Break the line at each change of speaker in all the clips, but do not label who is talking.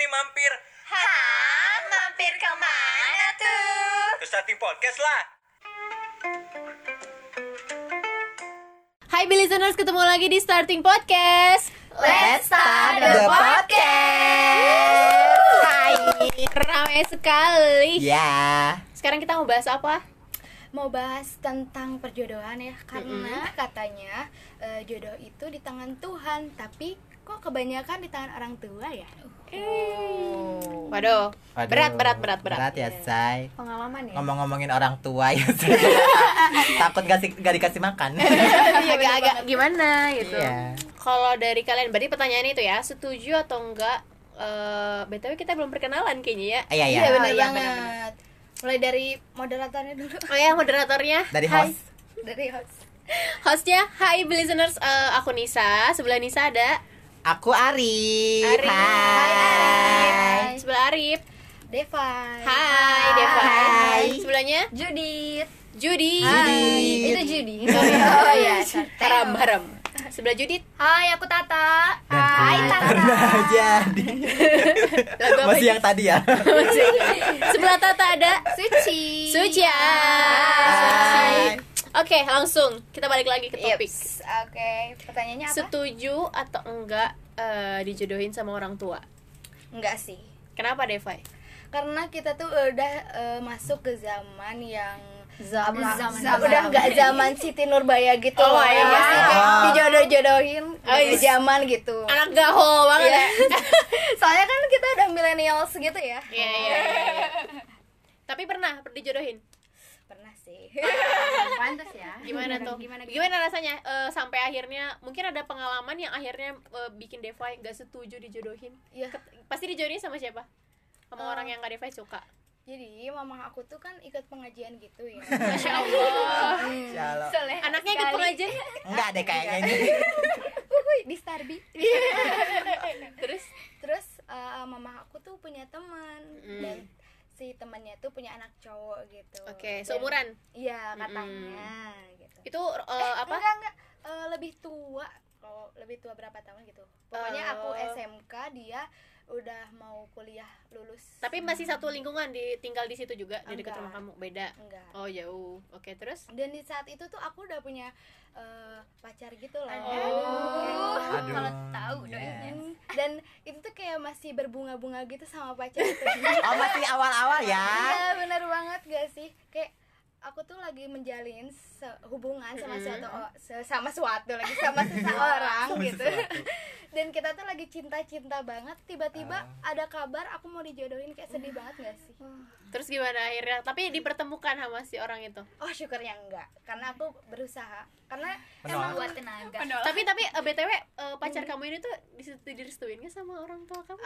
mampir
Hah? Mampir kemana tuh?
ke starting podcast lah.
Hai Billy Listeners, ketemu lagi di Starting Podcast
Let's start the
podcast Hai Ramai sekali
Ya,
Sekarang kita mau bahas apa?
Mau bahas tentang perjodohan ya Karena katanya eh, jodoh itu di tangan Tuhan Tapi kok kebanyakan di tangan orang tua ya?
Waduh,
Waduh,
berat, berat, berat, berat
Berat ya,
Iya.
say.
Pengalaman ya?
Ngomong-ngomongin orang tua ya, Say. Takut gak, sih- gak dikasih makan.
Iya, agak-agak gimana gitu
Iya.
Kalau dari kalian, berarti pertanyaan itu ya Setuju atau enggak? Eh, BTW kita belum perkenalan kayaknya ya
Iya, iya.
Iya bener
bener,
banget
bener,
Mulai dari moderatornya dulu
Oh ya, moderatornya
Dari
Hai.
host.
Dari host
Hostnya, hai Billy Listeners, Eh, aku Nisa Sebelah Nisa ada
Aku Ari.
Arif.
Hai.
Hai.
Sebelah Arif
Deva
Hai, Deva
Hai.
Sebelahnya
Judit
Judi
Itu Judit
Oh,
iya
Haram, haram Sebelah Judit
Hai aku Tata
Dan ku pernah jadi.
Lagu apa
Masih
ini?
yang tadi ya.
Sebelah Tata ada
Suci Ah,
Suci Ah, ya.
Hai.
Oke langsung Kita balik lagi ke topik
Yeps, Oke, pertanyaannya apa?
Setuju atau enggak eh, Dijodohin sama orang tua
Enggak sih
Kenapa Devai?
karena kita tuh udah eh, masuk ke zaman yang
Zaman.
apa?
Zaman.
Zaman. udah nggak zaman Siti Nurbaya gitu
Oh,
loh
iya.
ya sih? Kayak
Ah.
dijodoh-jodohin
Oh,
dari
iya.
zaman gitu
Anak gaul banget
Iya.
ya
soalnya kan kita udah millennials gitu ya
Iya iya iya. Tapi pernah dijodohin?
pernah sih
pantas ya
Gimana tuh? Gimana, rasanya? Eh, sampai akhirnya mungkin ada pengalaman yang akhirnya eh, bikin Devai nggak setuju dijodohin.
Iya.
Ket- Pasti dijodohin sama siapa? Sama orang yang nggak Devai suka.
jadi mamah aku tuh kan ikut pengajian gitu ya
Masya Allah.
Shalom.
Anaknya ikut pengajian.
Enggak deh kayaknya ini.
Wuih, di Starbi
Terus
terus eh, mamah aku tuh punya teman
Mm.
dan si temannya tuh punya anak cowok gitu
oke,
Dan-
seumuran. Hmm.
iya katanya gitu
Itu eh, apa?
Enggak, enggak. Eh, lebih tua. Kalau lebih tua berapa tahun gitu. Pokoknya aku
Oh.
SMK, dia udah mau kuliah lulus.
Tapi masih satu lingkungan di tinggal di situ juga di dekat
Enggak.
rumah kamu. Beda.
enggak.
Oh, jauh. Oke, terus?
Dan di saat itu tuh aku udah punya eh, pacar gitu loh.
Oh.
Aduh.
Kalau tahu doanya.
Hmm, Dan itu tuh kayak masih berbunga-bunga gitu sama pacar itu.
Oh, masih awal-awal ya.
Iya, bener banget gak sih? Kayak aku tuh lagi menjalin se- hubungan sama
Mm-mm. Iya,
suatu o- se- sama suatu lagi sama seseorang gitu. Dan kita tuh lagi cinta-cinta banget,
Ah.
tiba-tiba ada kabar aku mau dijodohin kayak sedih banget gak sih?
Terus gimana akhirnya? Tapi dipertemukan sama si orang itu.
Oh, syukurnya enggak. Karena aku berusaha. Karena
Menolak.
Buat tenaga.
Tapi tapi eh, BTW eh, pacar kamu ini tuh disetujui direstuin nggak sama orang tua kamu?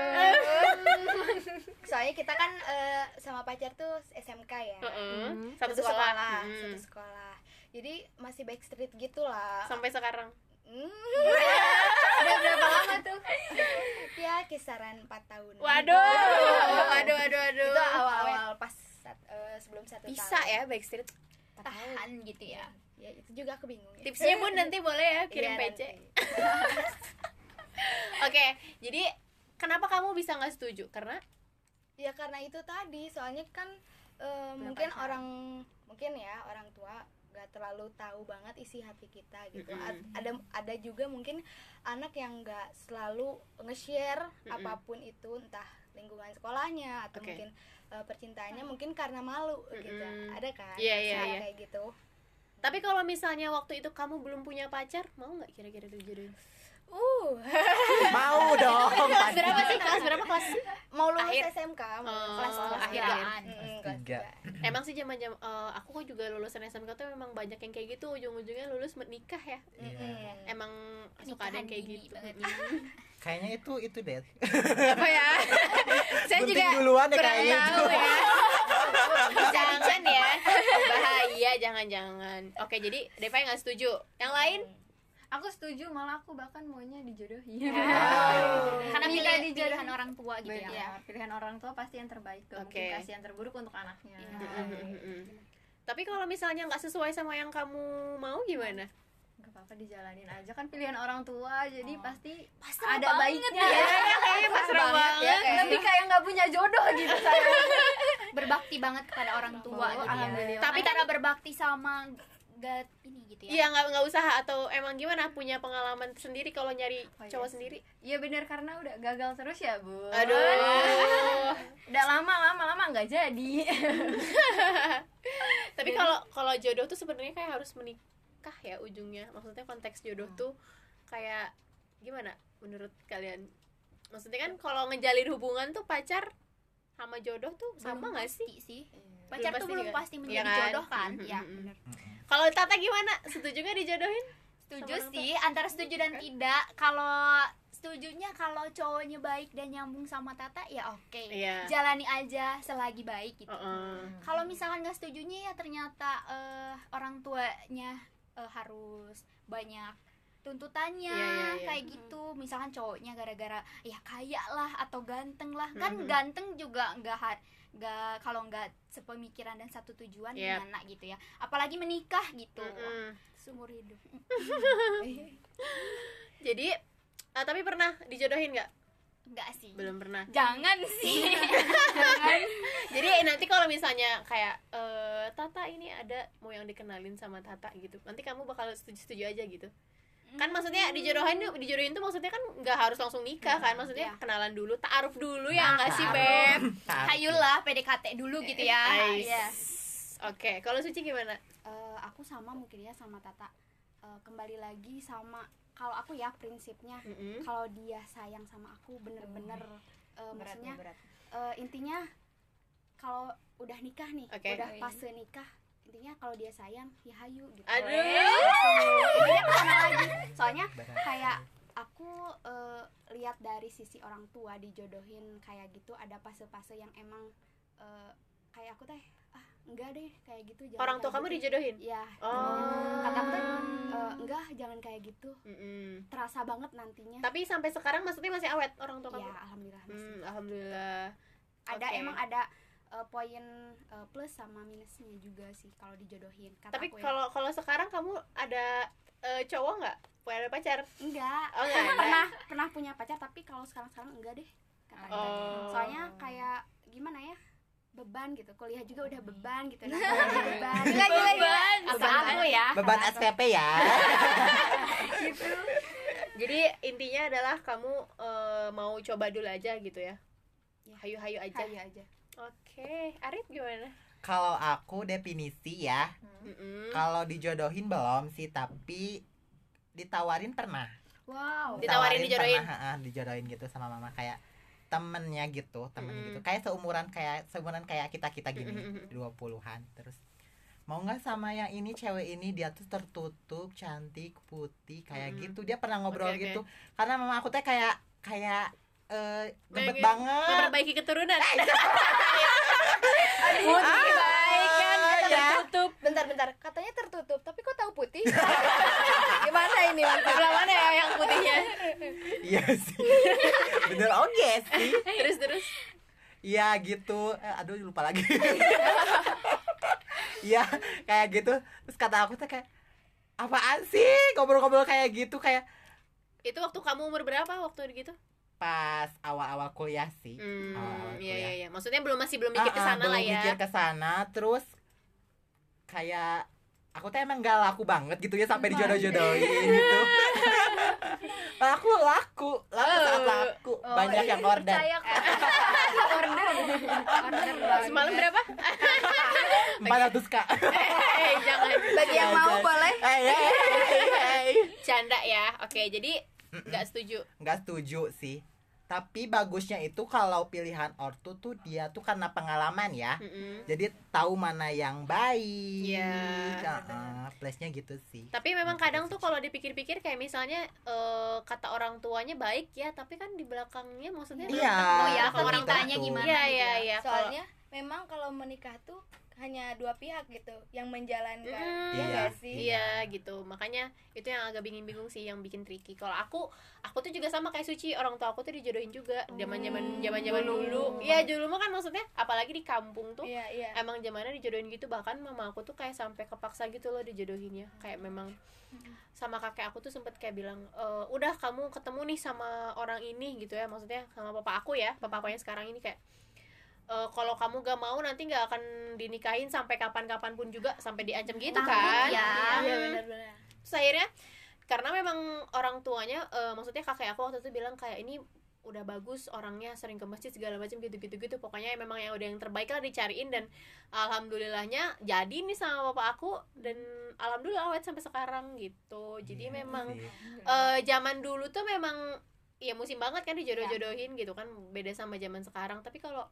aduh. Soalnya kita kan eh, sama pacar tuh SMK ya.
Heeh.
Satu,
Satu sekolah. Hmm.
satu sekolah. Jadi masih backstreet gitu lah.
Sampai sekarang.
Hmm. Udah berapa lama tuh? ya kisaran 4 tahun.
Waduh. Waduh, waduh, waduh.
Itu awal-awal pas sat- eh, sebelum satu
Bisa
tahun.
ya backstreet.
Tahan gitu ya.
Ya itu juga aku bingung. ya.
Tipsnya pun nanti boleh ya kirim
Iya,
PC.
nanti.
Oke, jadi kenapa kamu bisa nggak setuju? Karena
Ya karena itu tadi, soalnya kan eh, mungkin orang mungkin ya orang tua gak terlalu tahu banget isi hati kita gitu.
Mm-mm.
Ad- Ada ada juga mungkin anak yang gak selalu nge-share
Mm-mm.
apapun itu entah lingkungan sekolahnya atau
Oke.
mungkin eh, percintaannya mungkin karena malu gitu.
Mm-mm.
Ada kan?
Iya, iya,
masalah
iya.
kayak gitu.
tapi kalau misalnya waktu itu kamu belum punya pacar, mau nggak kira-kira dijodohin?
Uh,
Mau dong.
Kelas berapa sih? Kelas berapa kelas?
mau lulus
Akhir.
SMK, mau
Oh,
kelas kelas
akhir,
tiga.
akhir.
Mm,
Kelas
kelas
tiga.
tiga.
Emang sih zaman jam eh, aku juga lulusan SMK tuh memang banyak yang kayak gitu ujung-ujungnya lulus menikah ya.
Iya.
Mm-mm.
Emang suka ada yang kayak
Nikahan dini
gitu.
banget.
Kayaknya itu itu deh.
Apa ya? Saya
Penting
juga
duluan ya
kurang
kayaknya
tahu ya. jangan ya. Bahaya jangan-jangan. Oke, jadi Deva yang nggak setuju. Yang lain?
aku setuju malah aku bahkan maunya
Iya.
dijodohin
Karena
Milih-
pilihan,
dijodohin.
pilihan orang tua gitu
Iya,
ya.
pilihan orang tua pasti yang terbaik
Oke.
gak mungkin kasih yang terburuk untuk anaknya
Nah,
Iya.
Mm-mm. Tapi kalau misalnya nggak sesuai sama yang kamu mau gimana?
Gak apa-apa dijalanin aja kan pilihan orang tua jadi pasti
Pasrah
ada
banget
baiknya
ya.
kayaknya pasrah Iya, banget
ya,
kayak-
lebih kayak nggak punya jodoh gitu saya
berbakti banget kepada orang tua
Oh,
gitu ya.
alhamdulillah.
Tapi cara berbakti sama God ini gitu ya.
Iya nggak nggak usah atau emang gimana punya pengalaman sendiri kalau nyari
Oh, iya
cowok
sih.
sendiri?
Iya bener karena udah gagal terus ya bu
Aduh.
udah lama lama lama nggak jadi
Tapi kalau kalau jodoh tuh sebenarnya kayak harus menikah ya ujungnya. Maksudnya konteks jodoh
Hmm.
tuh kayak gimana menurut kalian? Maksudnya kan kalau ngejalin hubungan tuh pacar sama jodoh tuh sama nggak sih? Iya.
Pasti sih. Pacar
Belum
tuh
pasti
belum
juga.
pasti
Iya
menjadi
kan?
jodoh kan?
Mhm,
Ya,
mhm.
bener.
Kalau Tata gimana? Setuju nggak dijodohin? Sama
Setuju
Iya. orang
sih, antara setuju dan tidak. Kalau setujunya kalau cowoknya baik dan nyambung sama Tata ya oke.
Iya. Oh,
Jalani aja selagi baik gitu.
Heeh.
Kalau misalkan nggak setujunya ya ternyata eh, orang tuanya eh, harus banyak tuntutannya
Iya, iya, iya.
kayak gitu. Misalkan cowoknya gara-gara ya kaya lah atau ganteng lah.
Mhm.
Kan ganteng juga nggak har- nggak kalau nggak sepemikiran dan satu tujuan
Yap.
gimana gitu ya. Apalagi menikah gitu.
Mhm.
Seumur hidup.
Jadi eh, tapi pernah dijodohin nggak?
Enggak sih.
Belum pernah.
Jangan sih.
Jadi nanti kalau misalnya kayak eh, Tata ini ada mau yang dikenalin sama Tata gitu. Nanti kamu bakal setuju-setuju aja gitu. Kan
Hmm.
maksudnya dijodohin dijodohin tuh maksudnya kan nggak harus langsung nikah kan. Maksudnya
iya.
kenalan dulu, taaruf dulu ya nggak sih, Beb?
Taaruf. Taaruf.
Hayulah PDKT dulu gitu ya.
Ais.
Iya.
Oke, kalau Suci gimana?
Eh, aku sama mungkin ya sama Tata Eh, kembali lagi sama kalau aku ya prinsipnya
Mm-mm.
kalau dia sayang sama aku bener-bener
Hmm.
eh, maksudnya
berat
eh, intinya kalau udah nikah nih
Oke.
udah pas nikah intinya kalau dia sayang ya hayu gitu
Aduh.
Intinya ke sana lagi soalnya
Berat.
kayak aku eh, lihat dari sisi orang tua dijodohin kayak gitu ada fase-fase yang emang eh, kayak aku teh ah enggak deh kayak gitu jangan
Orang tua
kayak
kamu
gitu."
dijodohin?
ya
Oh.
kata aku tuh "Eh, enggak jangan kayak gitu
Mm-mm.
terasa banget nantinya
Tapi sampai sekarang maksudnya masih awet orang tua
Iya,
kamu?
ya alhamdulillah masih.
Hmm, alhamdulillah.
ada
oke.
emang ada eh, poin eh, plus sama minusnya juga sih kalau dijodohin kata
Tapi
aku ya.
kalau kalau sekarang kamu ada eh, cowok nggak? Punya ada pacar?
enggak
Oh, nggak ada.
pernah pernah punya pacar tapi kalau sekarang sekarang enggak deh kata aku.
Oh.
soalnya kayak gimana ya beban gitu kuliah juga udah beban gitu nah,
Iya.
udah beban
Gila, gila, gila.
Kata aku ya
Beban
kata aku.
SPP ya.
Jadi intinya adalah kamu eh, mau coba dulu aja gitu ya.
Ya.
Hayu-hayu aja.
Hayu aja
Oke, Arif gimana?
Kalau aku definisi ya,
Mm-mm.
kalau dijodohin belum sih, tapi ditawarin pernah.
wow
Di- Ditawarin, dijodohin.
pernah, ah, ah, dijodohin gitu sama mama kayak temennya gitu temen
Mm-mm.
gitu kayak seumuran kayak seumuran kayak kita kita gini
Mm-mm.
dua puluhan terus mau nggak sama yang ini cewek ini dia tuh tertutup cantik putih kayak
Mm-mm.
gitu dia pernah ngobrol
Oke, oke.
gitu karena mama aku teh kayak kayak eh gebet
Pengen
banget
Memperbaiki keturunan.
Ah, iya.
putih baik kan
Iya,
ya
Tutup.
Bentar-bentar, katanya tertutup, tapi kok tahu putih? Gimana ini?
Sebelah mana ya yang putihnya?
iya sih bener oke sih
terus terus.
Iya gitu, Eh, aduh lupa lagi. Iya kayak gitu, terus kata aku tuh kayak apaan sih ngobrol-ngobrol kayak gitu kayak
Itu waktu kamu umur berapa waktu gitu?
pas awal-awal kuliah sih.
Hmm,
Awal-awal
iya
kuliah.
iya iya. Maksudnya belum masih belum
ya. Ah,
mikir ke
ah,
sana
belum
lah ya.
Mikir ke sana, terus kayak aku tuh emang gak laku banget gitu ya sampai dijodoh-jodohin
iya.
gitu. laku laku, laku
Oh,
sangat laku. Banyak
iya,
yang order.
percaya kok order order banget.
Iya.
Semalam berapa?
400 kak.
eh, jangan
Bagi yang mau boleh.
Eh, eh, eh, eh.
canda ya. Oke, jadi nggak setuju.
nggak setuju sih tapi bagusnya itu kalau pilihan ortu tuh dia tuh karena pengalaman ya
Mm-mm.
jadi tahu mana yang baik
Iya,
Nah, eh, plusnya gitu sih
Tapi memang kadang tuh kalau dipikir-pikir kayak misalnya eh, kata orang tuanya baik ya, tapi kan di belakangnya maksudnya belum
Iya,
tentu
ya,
kalau orang
belum
tanya
tentu.
gimana
Iya
gitu
iya
ya.
iya. Kalau-
Soalnya memang kalau menikah tuh hanya dua pihak gitu yang
Mm.
menjalankan ya
Iya.
nggak sih
Iya gitu, makanya itu yang agak bingung-bingung sih yang bikin tricky. Kalau aku, aku tuh juga sama kayak Suci, orang tua aku tuh dijodohin juga zaman zaman zaman zaman dulu. Iya dulu mah kan maksudnya, apalagi di kampung tuh
iya iya
emang zamannya dijodohin gitu. Bahkan mama aku tuh kayak sampai kepaksa gitu loh dijodohinnya. Kayak memang sama kakek aku tuh sempet kayak bilang, "E, udah kamu ketemu nih sama orang ini gitu ya, maksudnya sama papa aku ya, papa aku yang sekarang ini kayak. "E, kalau kamu gak mau nanti gak akan dinikahin sampai kapan-kapan pun juga sampai diancam gitu
Takut
kan
ya.
iya
Hmm.
benar-benar
Terus akhirnya karena memang orang tuanya eh, maksudnya kakek aku waktu itu bilang kayak ini udah bagus orangnya sering ke masjid segala macam gitu-gitu gitu pokoknya memang yang udah yang terbaik lah dicariin dan alhamdulillahnya jadi nih sama bapak aku dan alhamdulillah awet sampai sekarang gitu jadi
Iya
memang
sih.
eh zaman dulu tuh memang ya musim banget kan dijodoh-jodohin gitu kan beda sama zaman sekarang tapi kalau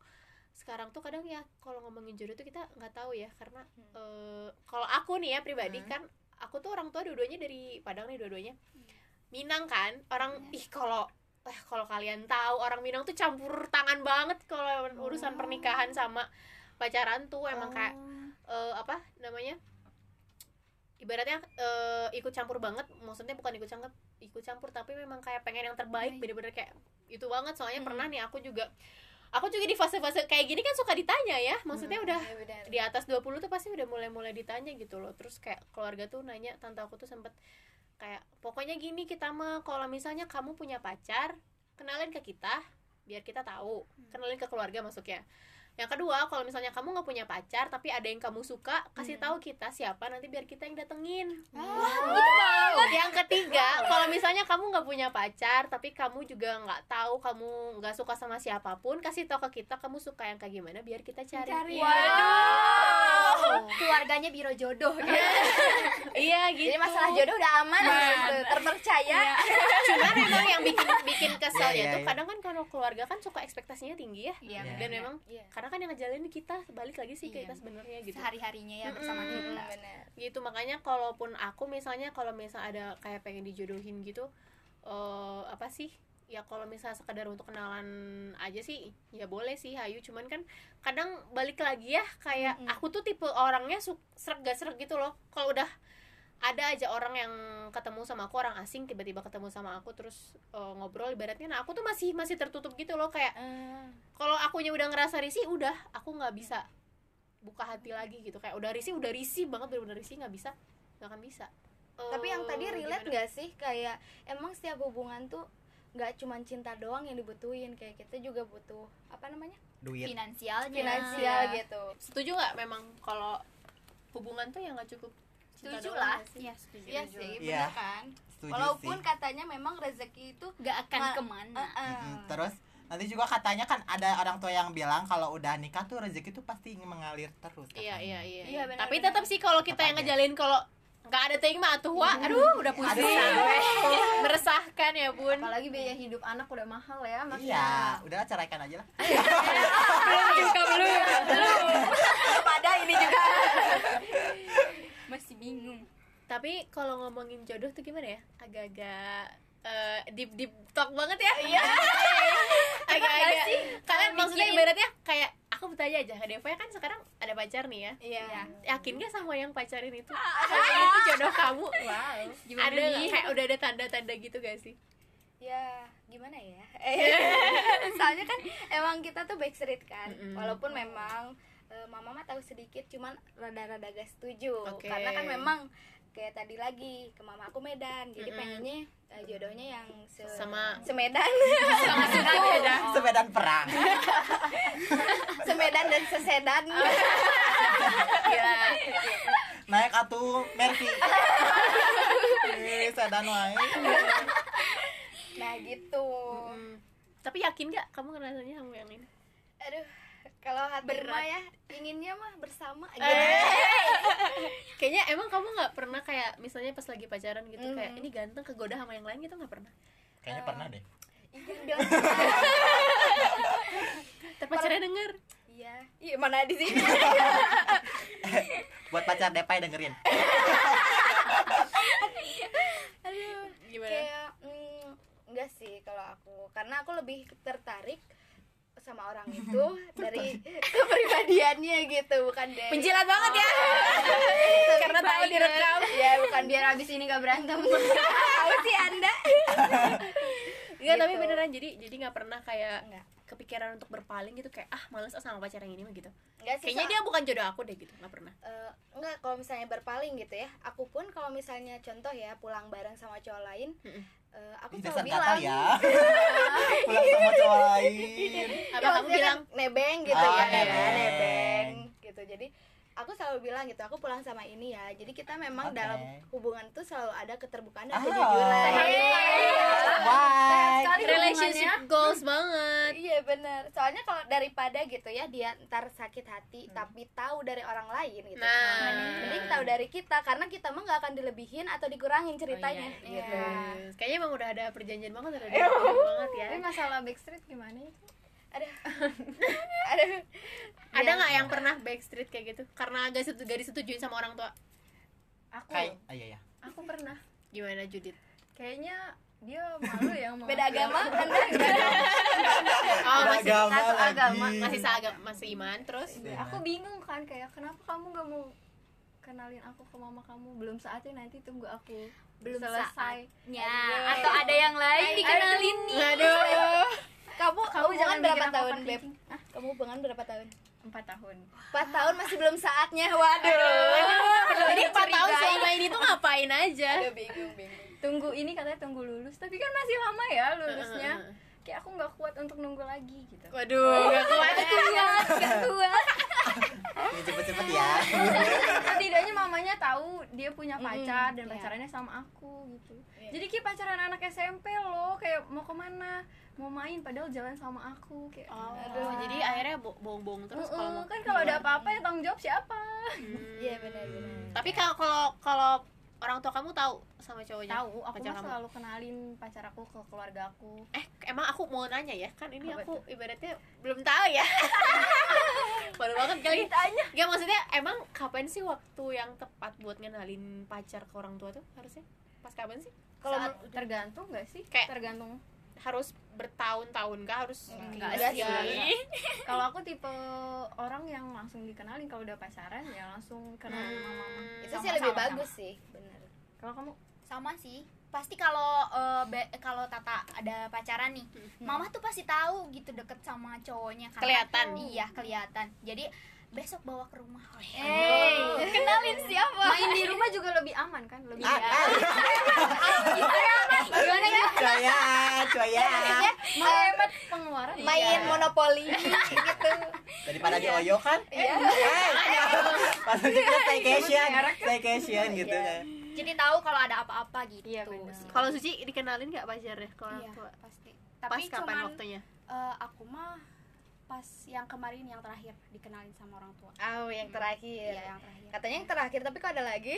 sekarang tuh kadang ya kalau ngomongin jodoh tuh kita nggak tahu ya karena eh, kalau aku nih ya pribadi kan aku tuh orang tua dua-duanya dari Padang nih dua-duanya Minang kan orang ih kalau eh kalau kalian tahu orang Minang tuh campur tangan banget kalau urusan pernikahan sama pacaran tuh emang kayak eh, apa namanya ibaratnya eh, ikut campur banget maksudnya bukan ikut campur ikut campur tapi memang kayak pengen yang terbaik bener-bener kayak itu banget soalnya pernah nih aku juga aku juga di fase-fase kayak gini kan suka ditanya ya maksudnya udah
Iya, benar.
di atas 20 tuh pasti udah mulai-mulai ditanya gitu loh terus kayak keluarga tuh nanya tante aku tuh sempet kayak pokoknya gini kita mah kalau misalnya kamu punya pacar kenalin ke kita biar kita tahu kenalin ke keluarga masuknya yang kedua kalau misalnya kamu nggak punya pacar tapi ada yang kamu suka kasih tahu kita siapa nanti biar kita yang datengin yang ketiga kalau misalnya kamu nggak punya pacar tapi kamu juga nggak tahu kamu nggak suka sama siapapun kasih tahu ke kita kamu suka yang kayak gimana biar kita cari Iya,
Iya. Waduh. Keluarganya biro jodoh. gitu.
iya gitu
jadi masalah jodoh udah aman gitu, terpercaya
Iya.
cuman memang Kan yang bikin bikin
Iya,
kesel ya
iya,
tuh
iya.
kadang kan kalau keluarga kan suka ekspektasinya tinggi ya
Iya.
Iya.
dan memang
Iya.
karena kan yang ngejalanin kita balik lagi sih ke
Iya.
kita sebenarnya gitu
Sehari-harinya ya bersama
Mm-mm.
kita.
Iya, benar
gitu makanya kalaupun aku misalnya kalau misal ada kayak pengen dijodohin gitu eh apa sih ya kalau misalnya sekedar untuk kenalan aja sih ya boleh sih Hayu cuman kan kadang balik lagi ya kayak
Mm-mm.
aku tuh tipe orangnya su- sreg gak sreg gitu loh kalau udah ada aja orang yang ketemu sama aku orang asing tiba-tiba ketemu sama aku terus eh, ngobrol ibaratnya nah aku tuh masih masih tertutup gitu loh kayak
Ah.
kalau akunya udah ngerasa risih udah aku nggak bisa buka hati lagi gitu kayak udah risih udah risih banget bener-bener risih nggak bisa nggak akan bisa Eh,
tapi yang tadi relate
gimana?
nggak sih kayak emang setiap hubungan tuh nggak cuman cinta doang yang dibutuhin kayak kita juga butuh apa namanya
duit
Finansialnya.
finansial
Iya.
gitu
setuju nggak memang kalau hubungan tuh yang nggak cukup cinta
Setuju
doang
lah.
nggak sih?
Iya,
Iya sih,
Iya.
bener kan?
Setuju
Walaupun
sih.
katanya memang rezeki itu
Gak akan
Ma-
kemana.
eh, eh,
Mm-mm. terus nanti juga katanya kan ada orang tua yang bilang kalau udah nikah tuh rezeki tuh pasti mengalir terus katanya.
iya iya iya,
Iya, benar,
tapi
benar.
tetap sih kalau kita yang
Apanya?
ngejalin kalau nggak ada ting mah atuh wah aduh udah pusing sampai meresahkan ya bun
apalagi biaya hidup anak udah mahal ya
Iya,
maksudnya.
udah ceraikan aja lah.
Iya.
Pada ini juga
Masih bingung.
tapi kalau ngomongin jodoh tuh gimana ya agak-agak eh, deep deep talk banget ya iya agak-agak kalian maksudnya
mikirin.
ibaratnya kayak aku bertanya aja Deva kan sekarang ada pacar nih ya
iya
yakin gak sama yang pacarin itu kalau ini tuh jodoh kamu
ya.
wow
ada nggak kayak udah ada tanda-tanda gitu gak sih
ya gimana ya soalnya kan emang kita tuh backstreet kan
Mm-mm.
walaupun memang eh, mama mah tahu sedikit cuman rada-rada gak setuju
Oke.
karena kan memang kayak tadi lagi ke mama aku Medan jadi
Mm-mm.
pengennya eh, jodohnya yang se
Sama- ya,
semedan
Semedan perang.
Oh.
semedan dan sesedan
Oh.
Naik atuh Mercy. Eh, sedan wae.
nah gitu
Mm. tapi yakin gak kamu ngerasanya sama yang ini
aduh kalau hati
Berat. Eh.
mah ya inginnya mah bersama gitu.
kayaknya emang kamu nggak pernah kayak misalnya pas lagi pacaran gitu kayak
Mm.
ini ganteng kegoda sama yang lain gitu nggak pernah
Kayaknya pernah deh.
Iya dong.
terpacarnya denger
iya iya mana di sini
Buat pacar Depai dengerin.
aduh
gimana
kayak mm, enggak sih kalau aku karena aku lebih tertarik sama orang itu dari kepribadiannya gitu bukan dari
Penjilat banget ya. Karena tahu
Baiknya.
direkam.
ya bukan biar abis ini gak berantem tahu sih anda
Enggak, tapi
Gitu.
beneran jadi jadi nggak pernah kayak
Enggak.
kepikiran untuk berpaling gitu kayak ah males ah sama pacar yang ini mah gitu.
Enggak sih
Kayaknya dia bukan jodoh aku deh gitu, nggak pernah.
Eh, enggak kalau misalnya berpaling gitu ya aku pun kalau misalnya contoh ya pulang bareng sama cowok lain
Mm-mm.
eh, aku
Ini dasar
selalu
kata
bilang
ya pulang sama cowok lain
Apa
Ya,
kamu
maksudnya
bilang
kan nebeng gitu
Ah,
ya
nebeng.
nebeng gitu jadi aku selalu bilang gitu aku pulang sama ini ya jadi kita memang
Oke.
dalam hubungan tuh selalu ada keterbukaan dan
Ah. iya.
kejujuran
why
sekali
relationship goals banget?
Iya benar. Soalnya kalau daripada gitu ya dia ntar sakit hati tapi tahu dari orang lain gitu.
Nah.
mending tahu dari kita karena kita mah nggak akan dilebihin atau dikurangin ceritanya.
Oh,
gitu.
Yes. iya, Kayaknya emang udah ada perjanjian banget ada perjanjian banget ya.
Tapi masalah backstreet gimana ya? itu?
Aduh.
Ada nggak yang pernah backstreet kayak gitu? Karena gak, setu- gak disetujuin sama orang tua.
Aku,
kayak ah, iya ya
aku pernah.
Gimana Judit?
Kayaknya dia malu ya yang mau.
Beda agama Anda gimana?
Oh, masih
agama
satu agama,
lagi.
masih seagama, masih iman terus.
Aku bingung kan kayak kenapa kamu gak mau kenalin aku ke mama kamu belum saatnya nanti tunggu aku
Belum
selesai
Ya,
Iya.
atau ada yang lain dikenalin nih.
Aduh.
Kamu kamu
jangan
jangan berapa
bikin aku
tahun,
overthinking.
Beb? Kamu hubungan berapa tahun?
empat tahun
4 tahun masih belum saatnya. Waduh.
Jadi 4 tahun selama ini tuh ngapain aja?
Aduh bingung bingung.
tunggu ini katanya tunggu lulus tapi kan masih lama ya lulusnya
Heeh.
kayak aku nggak kuat untuk nunggu lagi gitu
Waduh, gak kuat.
Iya,
Ini cepet-cepet ya
tidaknya mamanya tahu dia punya pacar dan
iya.
pacarannya sama aku gitu
Iya.
jadi kayak pacaran anak SMP loh kayak mau kemana mau main padahal jalan sama aku kayak
Oh, jadi akhirnya bo- bohong-bohong terus kalau
Mm-mm,
mau.
kan kalau ada apa-apa yang tanggung jawab siapa
Hmm.
Iya benar benar.
Tapi kalau kalau kalau orang tua kamu tahu sama cowoknya?
tahu aku
Iya, Pacar
mah
kamu.
selalu kenalin pacar aku ke keluarga aku
Eh, emang aku mau nanya ya, kan ini
Apa
aku ibaratnya belum tahu ya. Baru banget kali. Tanya. Gak maksudnya emang kapan sih waktu yang tepat buat ngenalin pacar ke orang tua tuh harusnya? Pas kapan sih?
Kalau
Saat tergantung gak sih
Kayak-
tergantung
Harus bertahun-tahun kah harus gitu?
Enggak
sih.
kalau aku tipe orang yang langsung dikenalin kalau udah pacaran ya langsung kenalin sama mama
Hmm.
itu sih
Sama,
lebih
sama,
bagus sih, benar.
kalau kamu
Sama sih. Pasti kalau eh, be- kalau Tata ada pacaran nih, Mama tuh pasti tahu gitu deket sama cowoknya karena-
Kelihatan.
Iya, kelihatan. Jadi besok bawa ke rumah.
Aduh.
kenalin siapa?
main di rumah juga lebih aman kan lebih
Ah, ah.
Gimana ya?
Cuaya, cuaya
hemat pengeluaran
Main monopoli ya? gitu.
Daripada dioyo kan Eh, Maksudnya staycation Staycation gitu kan
Jadi tahu kalau ada apa-apa gitu.
Iya, benar.
sih.
Kalau Suci dikenalin nggak pacarnya ke orang
Iya,
tua?
pasti
Pas
tapi
kapan
cuman
waktunya?
eh, aku mah pas yang kemarin yang terakhir dikenalin sama orang tua
Oh, yang terakhir.
iya yang terakhir
Katanya yang terakhir tapi kok ada lagi?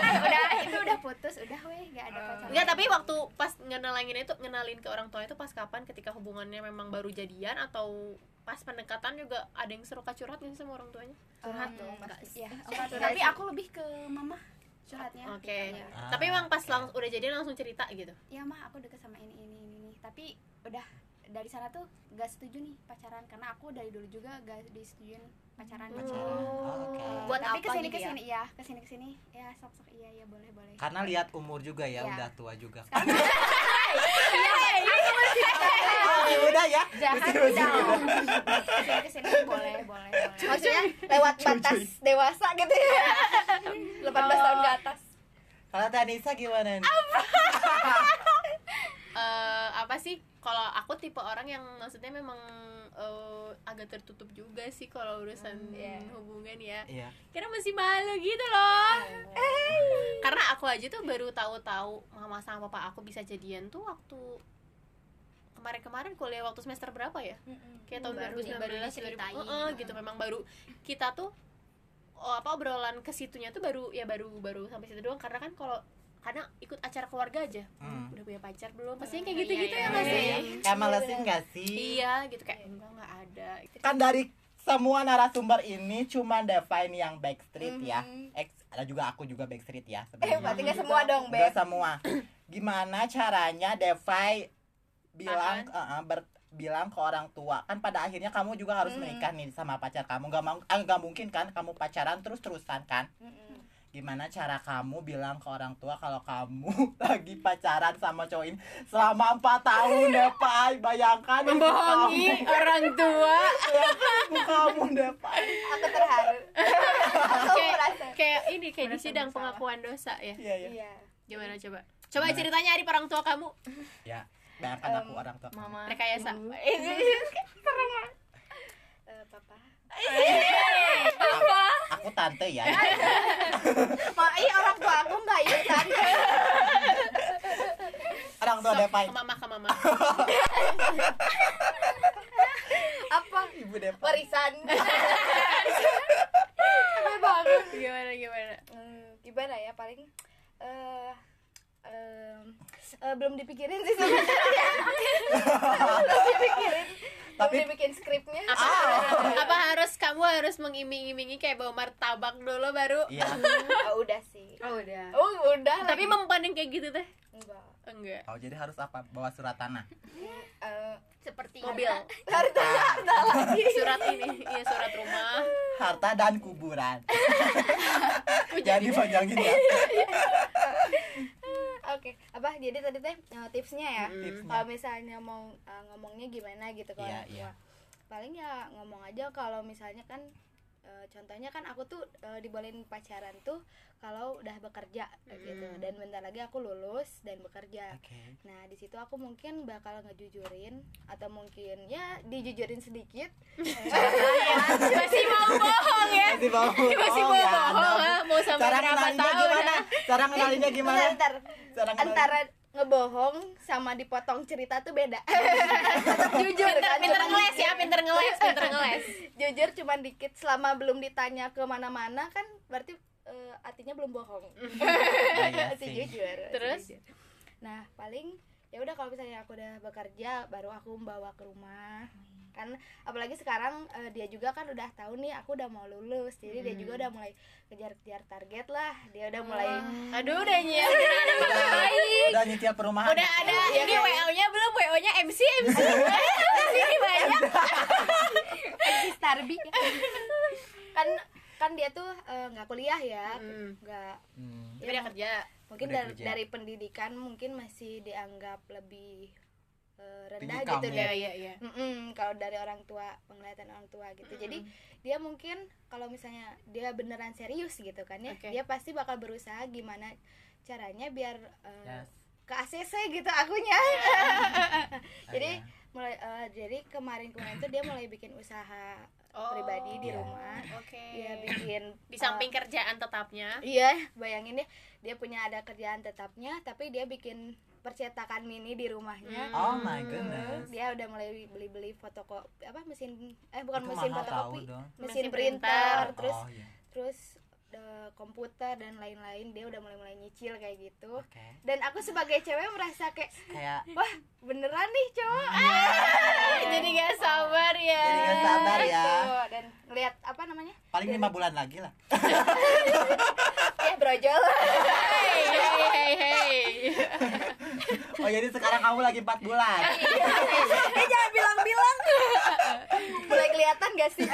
udah itu udah putus udah weh nggak ada Eh, pacar
Enggak, tapi waktu pas ngenalin itu ngenalin ke orang tua itu pas kapan ketika hubungannya memang baru jadian atau pas pendekatan juga ada yang seru curhat nggak sih sama orang tuanya?
Curhat dong pasti. Iya,
ya
Curhat.
tapi aku lebih ke mama curhatnya
Oke.
Iya.
Ah,
Tapi emang pas
oke.
langsung udah jadian langsung cerita gitu.
ya mah aku deket sama ini ini ini ini. tapi udah dari sana tuh gak setuju nih pacaran karena aku dari dulu juga gak disetujuin
Hmm.
pacaran
Hmm.
gitu.
pacaran
Oh, oke.
Buat
tapi
apa
kesini
gitu ya?
kesini
Iya,
ya kesini kesini ya sok sok iya iya boleh boleh
Karena lihat umur juga ya,
Iya.
udah tua juga. Oh, Iya, udah ya.
jahat dong kesini kesini boleh boleh boleh
Maksudnya lewat batas dewasa gitu ya. 18 tahun ke atas.
Kalau Tanisa gimana nih?
eh apa sih? Kalau aku tipe orang yang maksudnya memang eh, agak tertutup juga sih kalau
Hmm,
urusan hubungan ya.
Iya.
Karena masih malu gitu loh. Karena aku aja tuh baru tahu-tahu mama sama papa aku bisa jadian tuh waktu kemarin-kemarin kuliah waktu semester berapa ya? Kayak tahun
Baru-
2019
baru
2000.
diceritain.
Heeh, gitu memang baru kita tuh oh, apa obrolan ke situnya tuh baru ya baru baru sampai situ doang karena kan kalau kadang ikut acara keluarga aja
Hmm.
udah punya pacar belum pastinya kayak
Gitu
gitu-gitu
iya,
ya nggak sih
Iya. Kayak malesin gak sih?
iya gitu kayak enggak nggak ada Gitu.
Kan dari semua narasumber ini cuma Devine yang backstreet ya. Ex- ada juga aku juga backstreet ya
Mm-hmm. Eh,
sebenarnya.
berarti nggak semua dong,
Enggak
Beb.
semua. Gimana caranya Defy bilang eh, eh, ber- bilang ke orang tua kan pada akhirnya kamu juga harus
Mm.
menikah nih sama pacar kamu nggak mau ah, nggak mungkin kan kamu pacaran terus terusan kan gimana cara kamu bilang ke orang tua kalau kamu lagi pacaran sama cowok ini selama empat tahun deh Pai bayangkan hidup
membohongi orang tua
kamu kamu deh Pai
aku terharu aku
Oke.
merasa
kayak ini kayak di
Merasa
sidang
bersalah.
pengakuan dosa ya
iya iya
iya
gimana coba coba ceritanya hari orang tua kamu
Ya, bayangkan aku orang tua kamu.
mama
rekayasa
ibu.
Eh, papa
aku tante ya
Ma, iya orang tua aku nggak ikutan
orang tua
Sok,
deh Pai
ke mama ke mama
apa
ibu deh Pai
warisan
gimana gimana
Hmm, gimana ya paling eh em, eh, belum dipikirin sih sebenarnya belum dipikirin
Tapi-
belum dibikin skripnya
apa, apa harus kamu harus mengiming-imingi kayak bawa martabak dulu baru
iya
oh, udah sih
oh udah
oh udah
tapi
lagi.
mempan yang kayak gitu teh
enggak
enggak
oh jadi harus apa bawa surat tanah
Eh,
seperti
mobil
Ah,
surat ini iya surat rumah
harta dan kuburan
Aku
jadi
jadi
panjangin ya
oke apa jadi tadi teh eh, tipsnya ya
Hmm.
Mm.
kalau misalnya mau eh, ngomongnya gimana gitu kalau
Iya,
orang
iya.
tua. paling ya ngomong aja kalau misalnya kan eh, contohnya kan aku tuh eh, dibolehin pacaran tuh kalau udah bekerja
Hmm.
kayak gitu
Mm.
dan bentar lagi aku lulus dan bekerja
oke
nah di situ aku mungkin bakal ngejujurin atau mungkin ya dijujurin sedikit Eh, ya,
masih mau bohong ya
masih mau
masih
bohong
mau
ya
bohong
Anda.
ah. mau sampai
cara
berapa
ngenalinnya
tahun
gimana
ah?
cara ngenalinnya gimana
Bentar, bentar.
cara ngenalinnya-
antara ngebohong sama dipotong cerita tuh beda tetap jujur
pinter
kan,
pinter
cuman
ngeles ya
jujur.
pinter ngeles pinter ngeles
jujur cuman dikit selama belum ditanya kemana-mana kan berarti eh, artinya belum bohong
Iya
masih
sih.
jujur
Terus?
masih jujur. nah paling ya udah kalau misalnya aku udah bekerja baru aku bawa ke rumah kan apalagi sekarang eh, dia juga kan udah tahu nih aku udah mau lulus jadi dia
Hmm.
juga udah mulai kejar-kejar target lah
Oh.
dia udah mulai
aduh udah nyiapin ada apa baik
udah nyetir perumahan
udah ada
Iya,
ini
kan?
wo nya belum wo nya mc mc ini banyak
Starbi
kan kan dia tuh eh, nggak kuliah ya
Hmm.
nggak
Hmm.
Tapi dia kerja
mungkin
Udah
dari,
kerja.
dari pendidikan mungkin masih dianggap lebih eh, rendah
Tinggi
gitu
kamu.
dari
iya iya iya
Mm-mm, kalau dari orang tua penglihatan orang tua gitu jadi dia mungkin kalau misalnya dia beneran serius gitu kan ya
Oke.
dia pasti bakal berusaha gimana caranya biar eh,
Yes.
ke ACC gitu akunya
Oh,
Jadi,
Ada.
mulai eh, jadi kemarin kemarin tuh dia mulai bikin usaha
Oh,
pribadi di
Iya.
rumah Iya,
oke
dia bikin
di samping kerjaan tetapnya
eh, iya bayangin deh dia punya ada kerjaan tetapnya tapi dia bikin percetakan mini di
Hmm.
rumahnya
oh my goodness
dia udah mulai beli-beli fotokopi apa mesin eh bukan
Itu
mesin
mahal tahu
fotokopi
dong
mesin
Mesin
printer
printer.
terus
oh iya
terus eh, komputer dan lain-lain dia udah mulai-mulai nyicil kayak gitu
oke
dan aku sebagai cewek merasa kayak
kayak
wah beneran nih cowok
Eh, jadi gak sabar ya
jadi nggak sabar ya
Gitu. dan ngeliat apa namanya
paling lima bulan lagi lah
eh brojol
hey hey hey hey
oh jadi sekarang kamu lagi empat bulan
eh jangan bilang-bilang mulai kelihatan gak sih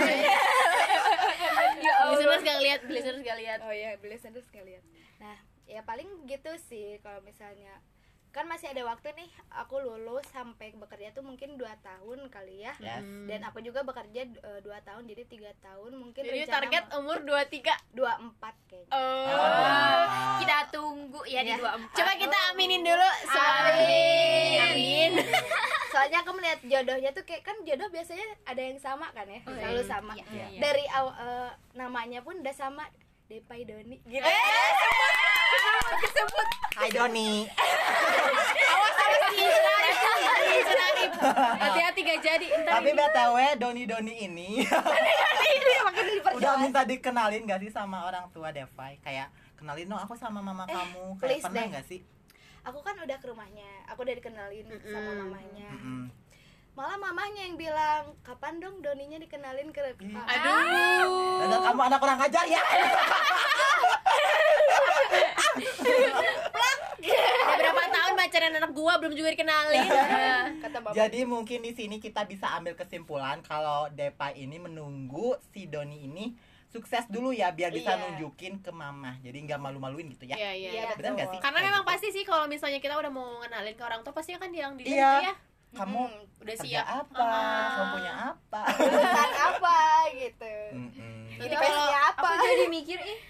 Ya listeners gak lihat listeners gak lihat
Oh iya, beli sendiri sekalian. Nah, ya paling gitu sih kalau misalnya kan masih ada waktu nih aku lulus sampai bekerja tuh mungkin 2 tahun kali ya.
Yes.
Dan aku juga bekerja 2 tahun jadi tiga tahun mungkin
jadi
rencana
target umur 23
24 kayaknya.
oh
iya.
kita tunggu ya di
Ya.
24
coba kita aminin dulu amin amin
Soalnya aku melihat jodohnya tuh kayak kan jodoh biasanya ada yang sama kan ya, selalu sama.
Iya.
Iya.
Dari aw, eh, namanya pun udah sama Depai Doni. Gitu.
Eh,
Hai Doni
Senarip. hati-hati gak jadi entar
tapi btw Doni Doni ini udah minta dikenalin gak sih sama orang tua Devai kayak kenalin dong aku sama mama kamu kayak
please
pernah
deh.
gak sih
Aku kan udah ke rumahnya, aku udah dikenalin sama
Mm-mm.
mamanya.
Mm-mm.
malah mamahnya yang bilang kapan dong doninya dikenalin ke ke-
Ih.
aduh
Dasar kamu anak kurang ajar ya
udah berapa tahun baca pacaran anak gua belum juga dikenalin Nah,
kata bapak
Jadi mungkin di sini kita bisa ambil kesimpulan kalau Depa ini menunggu si Doni ini sukses dulu ya biar bisa
Iya.
nunjukin ke mama. Jadi nggak malu-maluin gitu ya.
iya iya
Iya,
Benar nggak sih?
karena
Kayak
memang
gitu.
pasti sih kalau misalnya kita udah mau ngenalin ke orang tua pasti akan bilang diri
Iya.
gitu ya
kamu
Mm,
udah
kerja
siap
apa?
Ah.
Kamu punya apa?
jurusan apa gitu
Mm-mm.
Jadi
Jadi
kalau-
apa
Aku jadi mikir ih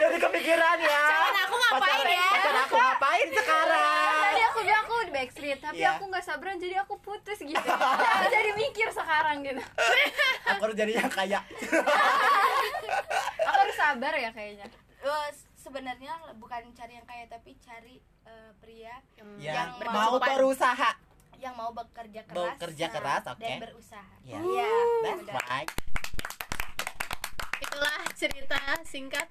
Jadi kepikiran ya.
calon aku ngapain
Pacar-
ya
pacar aku ngapain sekarang?
tadi aku bilang aku di backstreet tapi
Iya.
aku nggak sabaran jadi aku putus gitu. Aku jadi mikir sekarang gitu.
Aku harus jadinya kayak
Aku harus sabar ya kayaknya.
Eh, sebenarnya bukan cari yang kaya tapi cari eh, pria
ya,
Yang
mau
berkecukupan.
berusaha.
yang mau bekerja keras
Bekerja
nah,
keras, oke.
dan berusaha
Ya.
Iya,
That's
udah.
right.
itulah cerita singkat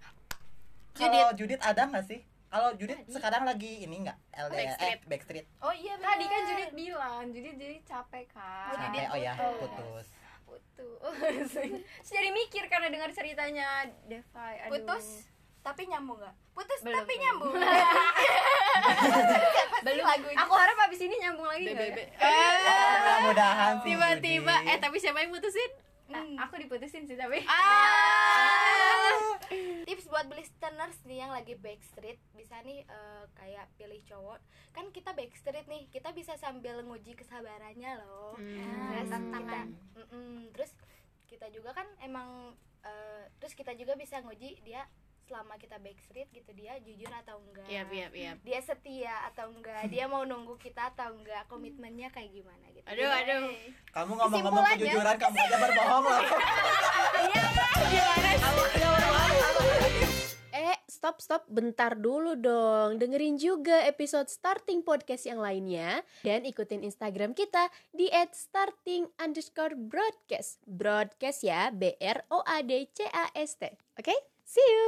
Kalau Judit ada nggak sih? Kalau Judit sekarang lagi ini nggak LDR
Backstreet.
eh, backstreet.
oh iya benar.
Tadi kan Judit bilang, Judit jadi capek kan.
Capek, oh ya,
putus.
putus.
putus. Terus jadi mikir karena dengar ceritanya Devai. Aduh.
putus tapi nyambung nggak putus
Belum.
tapi nyambung belum lagunya
Aku harap abis ini nyambung lagi nggak
BBB
ya?
Eh,
Mudah-mudahan sih,
tiba-tiba
Judit.
eh tapi siapa yang mutusin
Hmm.
Nah, aku diputusin sih tapi.
Ah. tips buat beli listeners nih yang lagi backstreet bisa nih eh, kayak pilih cowok kan kita backstreet nih kita bisa sambil nguji kesabarannya loh
Ah,
terus kita Mm-mm. terus kita juga kan emang eh, terus kita juga bisa nguji dia selama kita backstreet gitu dia jujur atau enggak
iya iya iya
dia setia atau enggak dia mau nunggu kita atau enggak komitmennya kayak gimana gitu
aduh aduh
Kamu ngomong-ngomong
Kesimpulannya.
kejujuran, kamu aja berbohong loh.
Eh, stop stop bentar dulu dong. Dengerin juga episode starting podcast yang lainnya dan ikutin Instagram kita di @starting underscore broadcast. Broadcast ya, B R O A D C A S T. Oke, see you.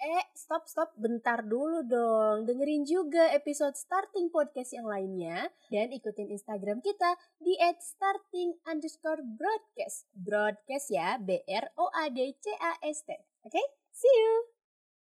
Eh, stop, stop, bentar dulu dong. Dengerin juga episode starting podcast yang lainnya. Dan ikutin Instagram kita di at starting underscore broadcast. Broadcast ya, B-R-O-A-D-C-A-S-T. Oke, see you!